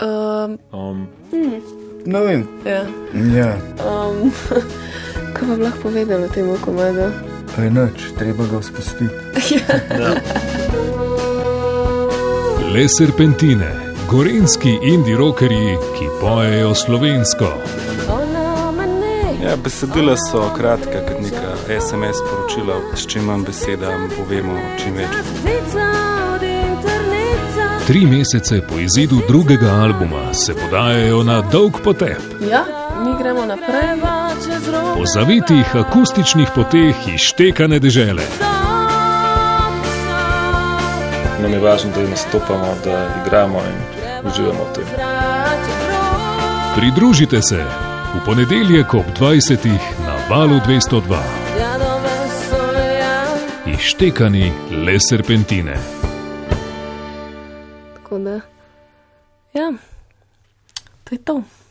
Um, Um, Ne vem. ja. Ja, um, kaj pa bi lahko povedala temu komadu? to je noč, treba ga spustiti. Le serpentine, gorenski indie rokerji, ki pojejo slovensko. ja, besedila so kratka, kot neka SMS poročila, s čim manj beseda povemo, čim več. Tri mesece po izidu drugega albuma se podajajo na dolg potep. Ja, mi gremo naprej. Po zavitih akustičnih poteh iztekane dežele. Nam je važno, da nastopamo, da igramo in uživamo v tem. Pridružite se v ponedeljek ob 20. na valu 202. Ištekani le serpentine. Tako da, ja, to je to.